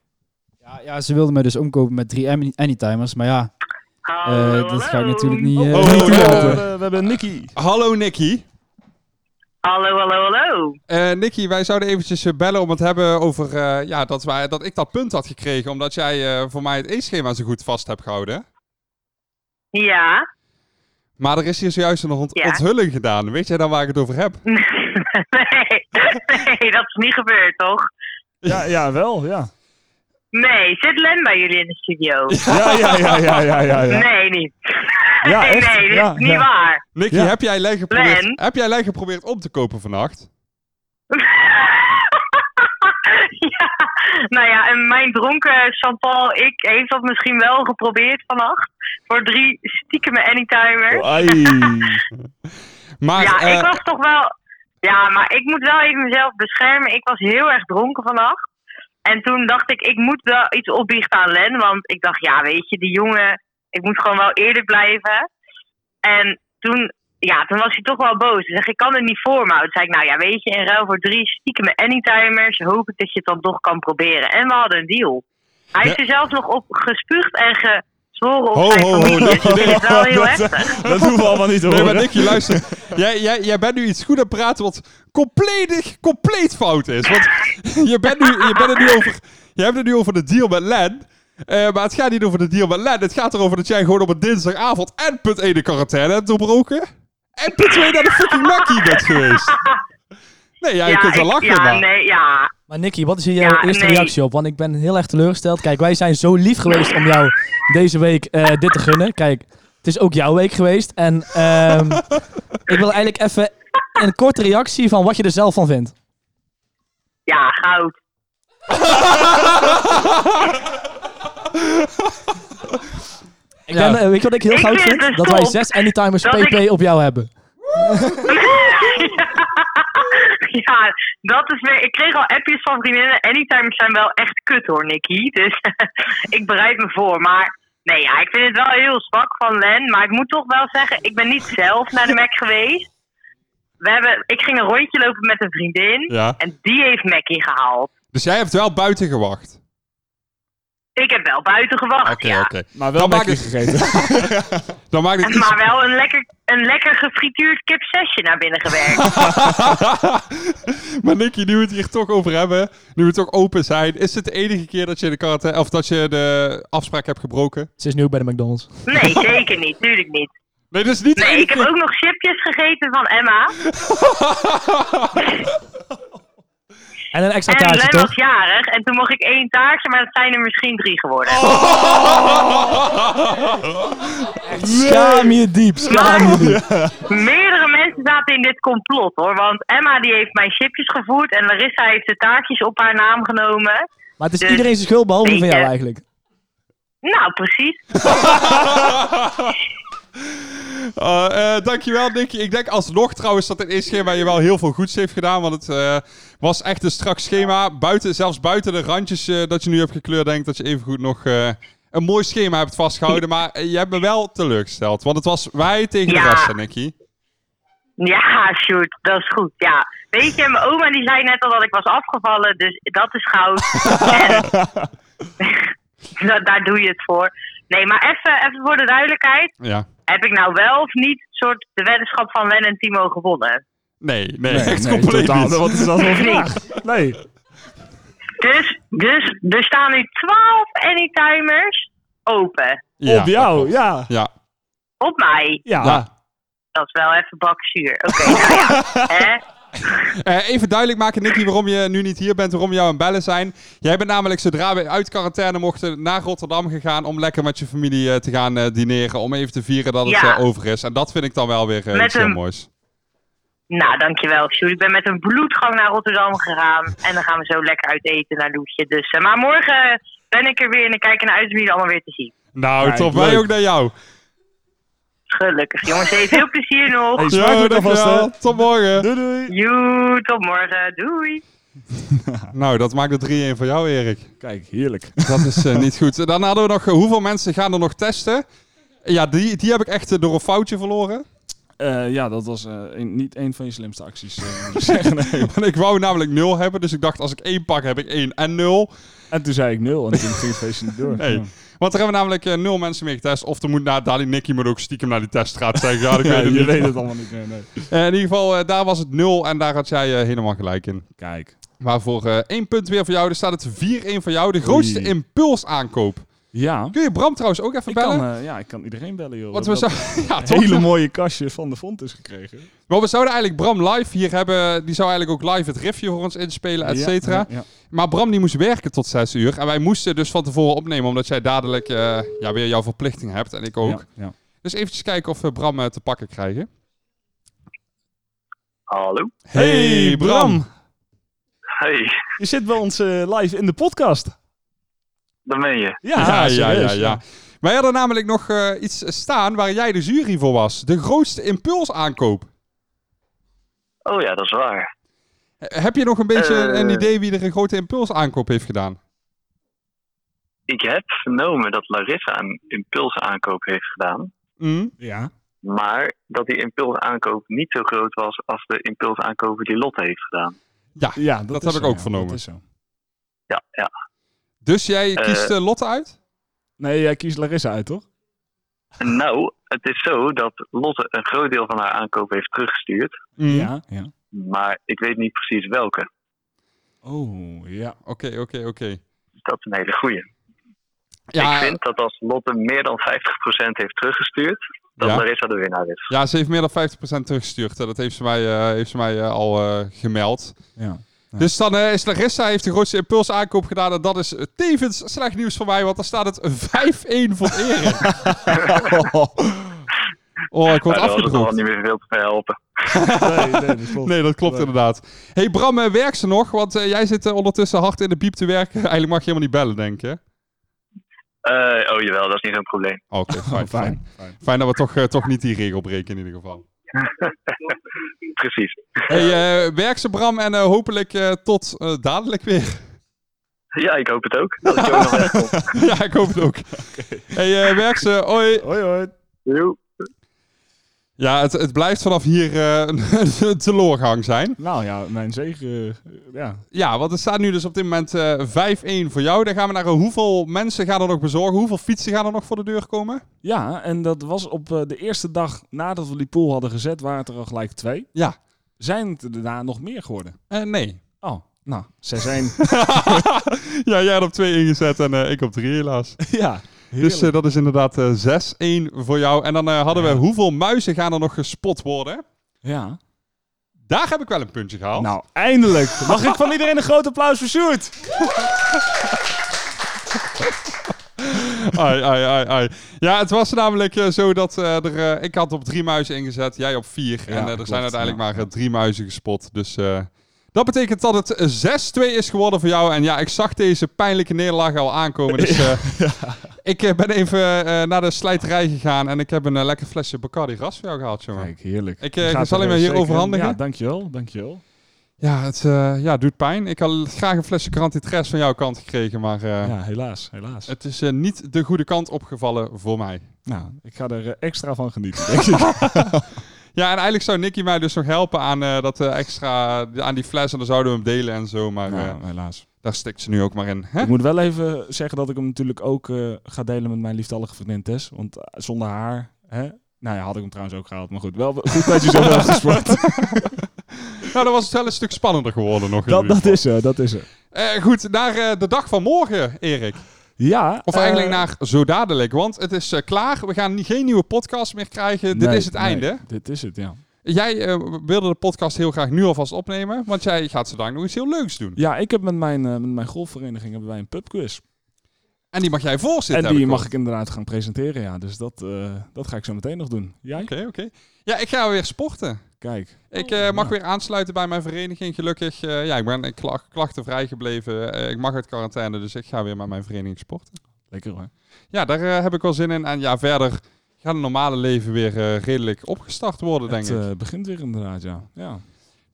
Ja, ja, ze wilde me dus omkopen met drie any- anytimers. Maar ja, eh, Ah, Hallo. dat ga ik natuurlijk niet... Oh, eh, we, niet oh, hebben, toelaten. we hebben- we hebben Nicky. Hallo Nicky. Hallo, hallo, hallo. Eh, Nicky, wij zouden eventjes eh, bellen om het hebben over eh, ja, dat, wij, dat ik dat punt had gekregen. Omdat jij eh, voor mij het e-schema zo goed vast hebt gehouden. Ja. Maar er is hier zojuist een ont- Ja. onthulling gedaan. Weet jij dan waar ik het over heb? *laughs* nee, nee, dat is niet gebeurd, toch? Ja, ja, wel, ja. Nee, zit Len bij jullie in de studio? Ja, ja, ja, ja, ja, ja. ja. Nee, niet. Ja, nee, echt? nee, dit Ja, is niet ja. waar. *laughs* Nicky, Ja. heb, jij lijn geprobeerd, Len? heb jij lijn geprobeerd om te kopen vannacht? nou ja, en mijn dronken Chantal, ik, heeft dat misschien wel geprobeerd vannacht. Voor drie stiekeme anytimers. *laughs* maar, ja, eh, ik was toch wel. Ja, maar ik moet wel even mezelf beschermen. Ik was heel erg dronken vannacht. En toen dacht ik, ik moet wel iets opbiechten aan Len. Want ik dacht, ja, weet je, die jongen, ik moet gewoon wel eerder blijven. En toen, ja, toen was hij toch wel boos. Hij zeg ik kan er niet voor me. Toen zei ik, nou ja, weet je, in ruil voor drie stiekeme anytimers hoop ik dat je het dan toch kan proberen. En we hadden een deal. Hij is Ja. er zelfs nog op gespuugd en gezworen op Ho, zijn ho, ho, familie. dat- Dus ik *laughs* vind het wel heel dat- heftig. Dat hoeven we allemaal niet te Nee, maar horen. Nicky, luister. *laughs* jij, jij, jij bent nu iets goed aan het praten wat compleet, compleet fout is. Want *laughs* je bent, nu, je bent het nu over... Je hebt het nu over de deal met Len. eh, maar het gaat niet over de deal met Len. Het gaat erover dat jij gewoon op een dinsdagavond en punt 1 de quarantaine hebt doorbroken. En punt 2 naar de fucking Mackie bent geweest. Nee, ja, je kunt wel lachen, ja, maar... nee, ja. Maar Nicky, wat is hier jouw Ja, eerste nee. reactie op? Want ik ben heel erg teleurgesteld. Kijk, wij zijn zo lief geweest om jou deze week eh, dit te gunnen. Kijk, het is ook jouw week geweest. En *laughs* ehm, ik wil eigenlijk even een korte reactie van wat je er zelf van vindt. Ja, goud. *laughs* Ik ben, eh, weet je wat ik heel Ik goud vind vind? het Dat wij stom zes Anytimers dat PP op jou hebben. ja, dat is weer. Ik kreeg al appjes van vriendinnen. Anytimers zijn wel echt kut hoor, Nicky. Dus *laughs* ik bereid me voor. Maar nee, ja, ik vind het wel heel zwak van Len. Maar ik moet toch wel zeggen, ik ben niet zelf naar de Mac geweest. We hebben, ik ging een rondje lopen met een vriendin. Ja. En die heeft Mackie gehaald. Dus jij hebt wel buiten gewacht. Ik heb wel buiten Oké, gewacht. ja. oké. Maar wel Mackie gegeten. Dan maakt het iets... *laughs* Maar wel een lekker, een lekker gefrituurd kip zesje naar binnen gewerkt. *laughs* Maar Nicky, nu we het hier toch over hebben, nu we het ook open zijn, is het de enige keer dat je de quarantaine, of dat je de afspraak hebt gebroken? *laughs* Ze is nu ook bij de McDonald's. Nee, zeker niet. Tuurlijk niet. Nee, dat is niet de Nee, ik enige heb ook nog chipjes gegeten van Emma. En een extra en taartje, Len was toch? jarig en toen mocht ik één taartje, maar dat zijn er misschien drie geworden. Schaam je diep, schaam je diep. Meerdere mensen zaten in dit complot hoor, want Emma die heeft mijn chipjes gevoerd en Larissa heeft de taartjes op haar naam genomen. Maar het is Dus, iedereen zijn schuld, behalve die van weet jou je, eigenlijk. Nou, precies. Eh, eh, dankjewel, Nicky. Ik denk alsnog trouwens dat het eerste schema je wel heel veel goeds heeft gedaan. Want het eh, was echt een strak schema. Buiten, zelfs buiten de randjes eh, dat je nu hebt gekleurd, denk ik dat je evengoed nog eh, een mooi schema hebt vastgehouden. Maar eh, je hebt me wel teleurgesteld. Want het was wij tegen de Ja. rest, hè, Nicky. Ja, Sjoerd, dat is goed, ja. Weet je, mijn oma die zei net al dat ik was afgevallen, dus dat is goud. en, *laughs* Da- daar doe je het voor. Nee, maar even, even voor de duidelijkheid. Ja. Heb ik nou wel of niet soort de weddenschap van Len en Timo gewonnen? Nee, nee, Nee, echt nee, compleet totaal. niet. Wat is dat voor vraag? Nee. Dus, dus er staan nu 12 anytimers open. Op jou, ja. Ah. Ja. Op mij. Ja. Dat is wel even bakzuur. Oké, nou ja. Hè? Eh, even duidelijk maken, Nicky, waarom je nu niet hier bent, waarom we jou aan bellen zijn. Jij bent namelijk zodra we uit quarantaine mochten naar Rotterdam gegaan om lekker met je familie eh, te gaan eh, dineren. Om even te vieren dat het Ja. eh, over is. En dat vind ik dan wel weer eh, Met iets heel een- moois. Nou, dankjewel, Sjoerd. Ik ben met een bloedgang naar Rotterdam gegaan. En dan gaan we zo lekker uit eten naar Loesje. Dus, eh, maar morgen ben ik er weer en ik kijk naar uit om jullie allemaal weer te zien. Nou, Kijk, top. Wij leuk. ook naar jou. Gelukkig, jongens. Hey, veel plezier nog. Hey, smakelijk Yo, alvast, dankjewel. hè. Tot morgen. Doei doei. Joe, tot morgen. Doei. Nou, dat maakt de 3-1 voor jou, Erik. Kijk, *laughs* heerlijk. Dat is eh, niet goed. Dan hadden we nog, eh, hoeveel mensen gaan er nog testen? Ja, die, die heb ik echt eh, door een foutje verloren. Eh, ja, dat was eh, een- niet een van je slimste acties. eh, *laughs* moet ik zeggen. Nee. Want ik wou namelijk 0 hebben, dus ik dacht als ik 1 pak heb ik 1 en 0. En toen zei ik nul en toen ging het feestje niet door. Nee. Ja. Want er hebben namelijk eh, nul mensen mee getest. Of er moet naar Dali Nicky maar ook stiekem naar die test gaat zeggen. Ja, ik *laughs* Ja, weet het je niet. weet het allemaal niet meer. Nee. Eh, in ieder geval, eh, daar was het nul en daar had jij eh, helemaal gelijk in. Kijk. Maar voor eh, één punt weer voor jou, er staat het 4-1 voor jou. De grootste Oei. impulsaankoop. Ja. Kun je Bram trouwens ook even Ik bellen? kan, eh, ja, ik kan iedereen bellen, joh. Want we Dat- dat- zouden- *laughs* Ja, toch? hele mooie kastje van de Fontes gekregen. maar we zouden eigenlijk Bram live hier hebben. Die zou eigenlijk ook live het riffje voor ons inspelen, et Ja, cetera. ja, ja. Maar Bram die moest werken tot 6 uur. En wij moesten dus van tevoren opnemen, omdat jij dadelijk eh, ja, weer jouw verplichting hebt. En ik ook. Ja, ja. Dus eventjes kijken of we Bram eh, te pakken krijgen. Hallo. Hey Bram. Hey, Je zit bij ons eh, live in de podcast. daar ben je. Ja, ja, ja, serieus, ja, ja. ja. Wij hadden namelijk nog eh, iets staan waar jij de jury voor was. De grootste impulsaankoop. Oh ja, dat is waar. Eh, Heb je nog een beetje Eh. een idee wie er een grote impulsaankoop heeft gedaan? Ik heb vernomen dat Larissa een impulsaankoop heeft gedaan. Mm. Ja. Maar dat die impulsaankoop niet zo groot was als de impulsaankopen die Lotte heeft gedaan. Ja, dat, dat heb is zo, ik ook ja, vernomen. dat is zo. Ja, ja. Dus jij kiest Eh. eh, Lotte uit? Nee, jij kiest Larissa uit, toch? Mm. Nou, het is zo dat Lotte een groot deel van haar aankoop heeft teruggestuurd. Mhm. Ja, ja. Maar ik weet niet precies welke. Oh, *laughs* ja. Oké, oké, oké. Dat is een hele goeie. Ja. Ik vind dat als Lotte meer dan 50% heeft teruggestuurd, dat Ja. Larissa de winnaar is. Ja, ze heeft meer dan 50% teruggestuurd. Eh, Dat heeft ze mij, eh, heeft ze mij eh, al eh, gemeld. Ja. Dus dan eh, is Larissa heeft de grootste impulsaankoop gedaan. En dat is eh, tevens slecht nieuws voor mij, want dan staat het 5-1 voor *laughs* Erik. oh, ik word Maar daar was het nog afgedroogd. wel niet meer veel te helpen. nee, nee, dat klopt. Nee, dat klopt inderdaad. hey Bram, eh, werk ze nog? Want eh, jij zit eh, ondertussen hard in de piep te werken. *laughs* Eigenlijk mag je helemaal niet bellen, denk je? Eh, oh jawel, dat is niet zo'n *laughs* probleem. Oké, fijn, fijn. fijn. dat we toch, eh, toch niet die regel breken in ieder geval. Precies. hey, eh, werk ze Bram en eh, hopelijk eh, tot eh, dadelijk weer. *laughs* Ja, ik hoop het ook. Dat ik ook nog weg kom. ja, ik hoop het ook. hey, eh, werk ze. Hoi. Hoi, hoi. Ja, het, het blijft vanaf hier eh, *laughs* een- een teleurgang zijn. Nou ja, mijn zegen. eh, ja. Ja, want het staat nu dus op dit moment eh, 5-1 voor jou. Dan gaan we naar eh, hoeveel mensen gaan er nog bezorgen? Hoeveel fietsen gaan er nog voor de deur komen? ja, en dat was op eh, de eerste dag nadat we die pool hadden gezet, waren het er al gelijk twee. Ja. Zijn het er daarna nog meer geworden? Eh, nee. Oh, nou, zij zijn... Ja, jij had op 2 ingezet en eh, ik op 3 *laughs* helaas. *laughs* ja. Dus eh, dat is inderdaad eh 6-1 voor jou. En dan eh, hadden we hoeveel muizen gaan er nog gespot worden? Ja. Daar heb ik wel een puntje gehaald. Nou, eindelijk. Mag ik van iedereen een groot applaus voor Sjoerd? Ai, ai, ai, ai. Ja, het was namelijk eh, zo dat eh, er, eh, ik had op drie muizen ingezet, jij op vier. en eh, er klopt, zijn uiteindelijk ja. maar eh, drie muizen gespot. Dus eh, dat betekent dat het eh, 6-2 is geworden voor jou. En ja, ik zag deze pijnlijke nederlaag al aankomen. Dus *laughs* eh, ik eh, ben even eh, naar de slijterij gegaan en ik heb een eh, lekker flesje Bacardi Ras voor jou gehaald, jongen. Kijk, heerlijk. Ik, eh, Gaat zal er, hem eh, hier zeker- overhandigen. Ja, dankjewel, dankjewel. Ja, het eh, ja, doet pijn. Ik had graag een flesje Grantitres van jouw kant gekregen, maar eh, Ja, helaas, helaas. het is eh, niet de goede kant opgevallen voor mij. Nou, ik ga er eh, extra van genieten, denk *laughs* ik. Ja, en eigenlijk zou Nicky mij dus nog helpen aan eh, dat eh, extra, aan die fles en dan zouden we hem delen en zo, maar Nou, eh, helaas. daar stikt ze nu ook maar in. Hè? *laughs* Ik moet wel even zeggen dat ik hem natuurlijk ook eh, ga delen met mijn liefdallige vriendin Tess. Want eh, zonder haar, hè? Nou ja, had ik hem trouwens ook gehaald. Maar goed, wel goed dat *laughs* je zo hebt gesport. Nou, dan was het wel een stuk spannender geworden nog. in dat, ieder dat geval. is ze, dat is ze. Eh, goed, naar eh, de dag van morgen, Erik. Ja. Of eigenlijk eh, naar zo dadelijk, want het is eh, klaar. We gaan geen nieuwe podcast meer krijgen. Dit nee, is het nee, einde. Dit is het, ja. Jij eh, wilde de podcast heel graag nu alvast opnemen, want jij gaat zo dadelijk nog iets heel leuks doen. Ja, ik heb met mijn, eh, met mijn golfvereniging hebben wij een pubquiz. En die mag jij voorzitten. en die heb mag gehoord. ik inderdaad gaan presenteren, ja. Dus dat, eh, dat ga ik zo meteen nog doen. Jij? Oké, oké. Ja, ik ga weer sporten. Kijk. Ik eh, mag Oh, Ja. weer aansluiten bij mijn vereniging, gelukkig. Eh, ja, ik ben eh, klag- klachtenvrij gebleven. Eh, ik mag uit quarantaine, dus ik ga weer met mijn vereniging sporten. Lekker hoor. Ja, daar eh, heb ik wel zin in. En ja, verder gaat het normale leven weer eh, redelijk opgestart worden, denk Het ik. eh, begint weer inderdaad, ja. ja.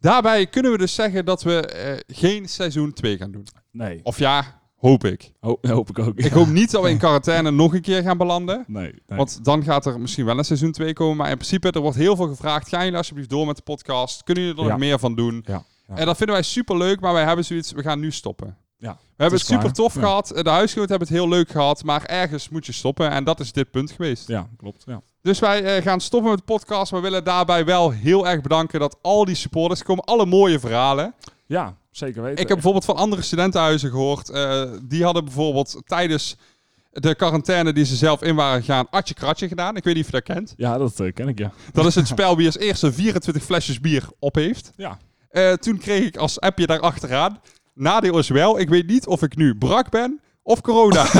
Daarbij kunnen we dus zeggen dat we eh, geen seizoen 2 gaan doen. Nee. Of ja, hoop ik. Ho- hoop ik ook. Oh. Ik hoop niet dat we in quarantaine nog een keer gaan belanden. Nee. nee. Want dan gaat er misschien wel een seizoen 2 komen. Maar in principe, er wordt heel veel gevraagd. Gaan jullie alsjeblieft door met de podcast? Kunnen jullie er Ja. nog meer van doen? Ja. ja. En dat vinden wij super leuk, maar wij hebben zoiets, we gaan nu stoppen. Ja, We hebben het is klaar. super tof Ja. gehad, de huisgenoten hebben het heel leuk gehad, maar ergens moet je stoppen en dat is dit punt geweest. Ja, klopt. Ja. Dus wij eh, gaan stoppen met de podcast, maar willen daarbij wel heel erg bedanken dat al die supporters komen, alle mooie verhalen. ja, zeker weten. Ik heb bijvoorbeeld van andere studentenhuizen gehoord, eh, die hadden bijvoorbeeld tijdens de quarantaine die ze zelf in waren gegaan, atje kratje gedaan. Ik weet niet of je dat kent. Ja, dat eh, ken ik, ja. Dat is het spel wie als eerste 24 flesjes bier op heeft. Ja. Eh, toen kreeg ik als appje daarachteraan. Nadeel is wel, ik weet niet of ik nu brak ben Of corona. *laughs*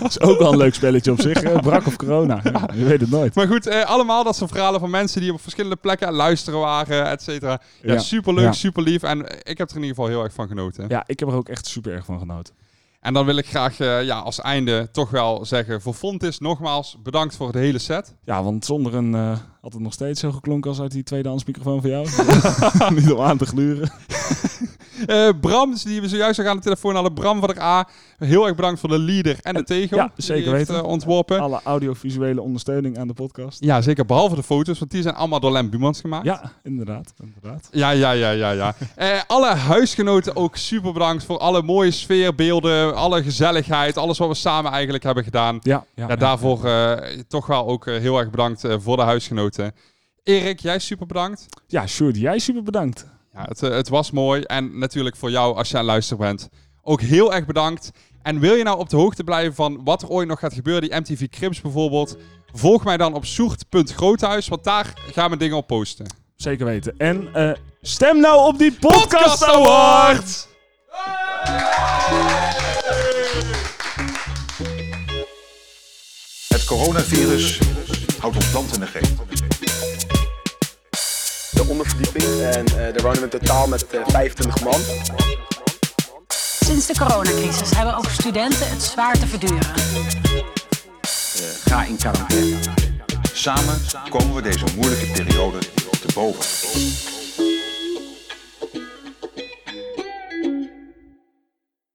Dat is ook wel een leuk spelletje op zich. *laughs* eh, Brak of corona. Ja, je weet het nooit. Maar goed, eh, allemaal dat zijn verhalen van mensen die op verschillende plekken aan het luisteren waren, et cetera. Ja, Ja. superleuk, Ja. superlief. En eh, ik heb er in ieder geval heel erg van genoten. Ja, ik heb er ook echt super erg van genoten. En dan wil ik graag eh, ja, als einde toch wel zeggen, voor Fontis nogmaals bedankt voor de hele set. Ja, want zonder een eh, had het nog steeds zo geklonken als uit die tweedehands microfoon van *laughs* jou. Niet om aan te gluren. Eh, Bram, die we zojuist ook aan de telefoon hadden, Bram van der A, heel erg bedankt voor de leader en de tegel. Ja, die zeker hij heeft, weten. eh, ontworpen. Alle audiovisuele ondersteuning aan de podcast. ja, zeker. Behalve de foto's, want die zijn allemaal door Lem Bumans gemaakt. Ja, inderdaad. inderdaad. Ja, ja, ja, ja, ja. Eh, alle huisgenoten ook super bedankt voor alle mooie sfeerbeelden, alle gezelligheid, alles wat we samen eigenlijk hebben gedaan. Ja, ja, ja. daarvoor eh, toch wel ook eh, heel erg bedankt eh, voor de huisgenoten. Erik, jij super bedankt. Ja, Sjoerd, jij super bedankt. Ja, het, eh, het was mooi. En natuurlijk voor jou als jij aan het luisteren bent. Ook heel erg bedankt. En wil je nou op de hoogte blijven van wat er ooit nog gaat gebeuren, die MTV Crips bijvoorbeeld, volg mij dan op soert.groothuis, want daar gaan we dingen op posten. Zeker weten. En eh, stem nou op die podcast award! Het coronavirus houdt ons land in de greep. De onderverdieping. En eh daar wonen we in totaal met eh, 25 man. Sinds de coronacrisis hebben ook studenten het zwaar te verduren. Eh, ga in quarantaine. Samen komen we deze moeilijke periode te boven.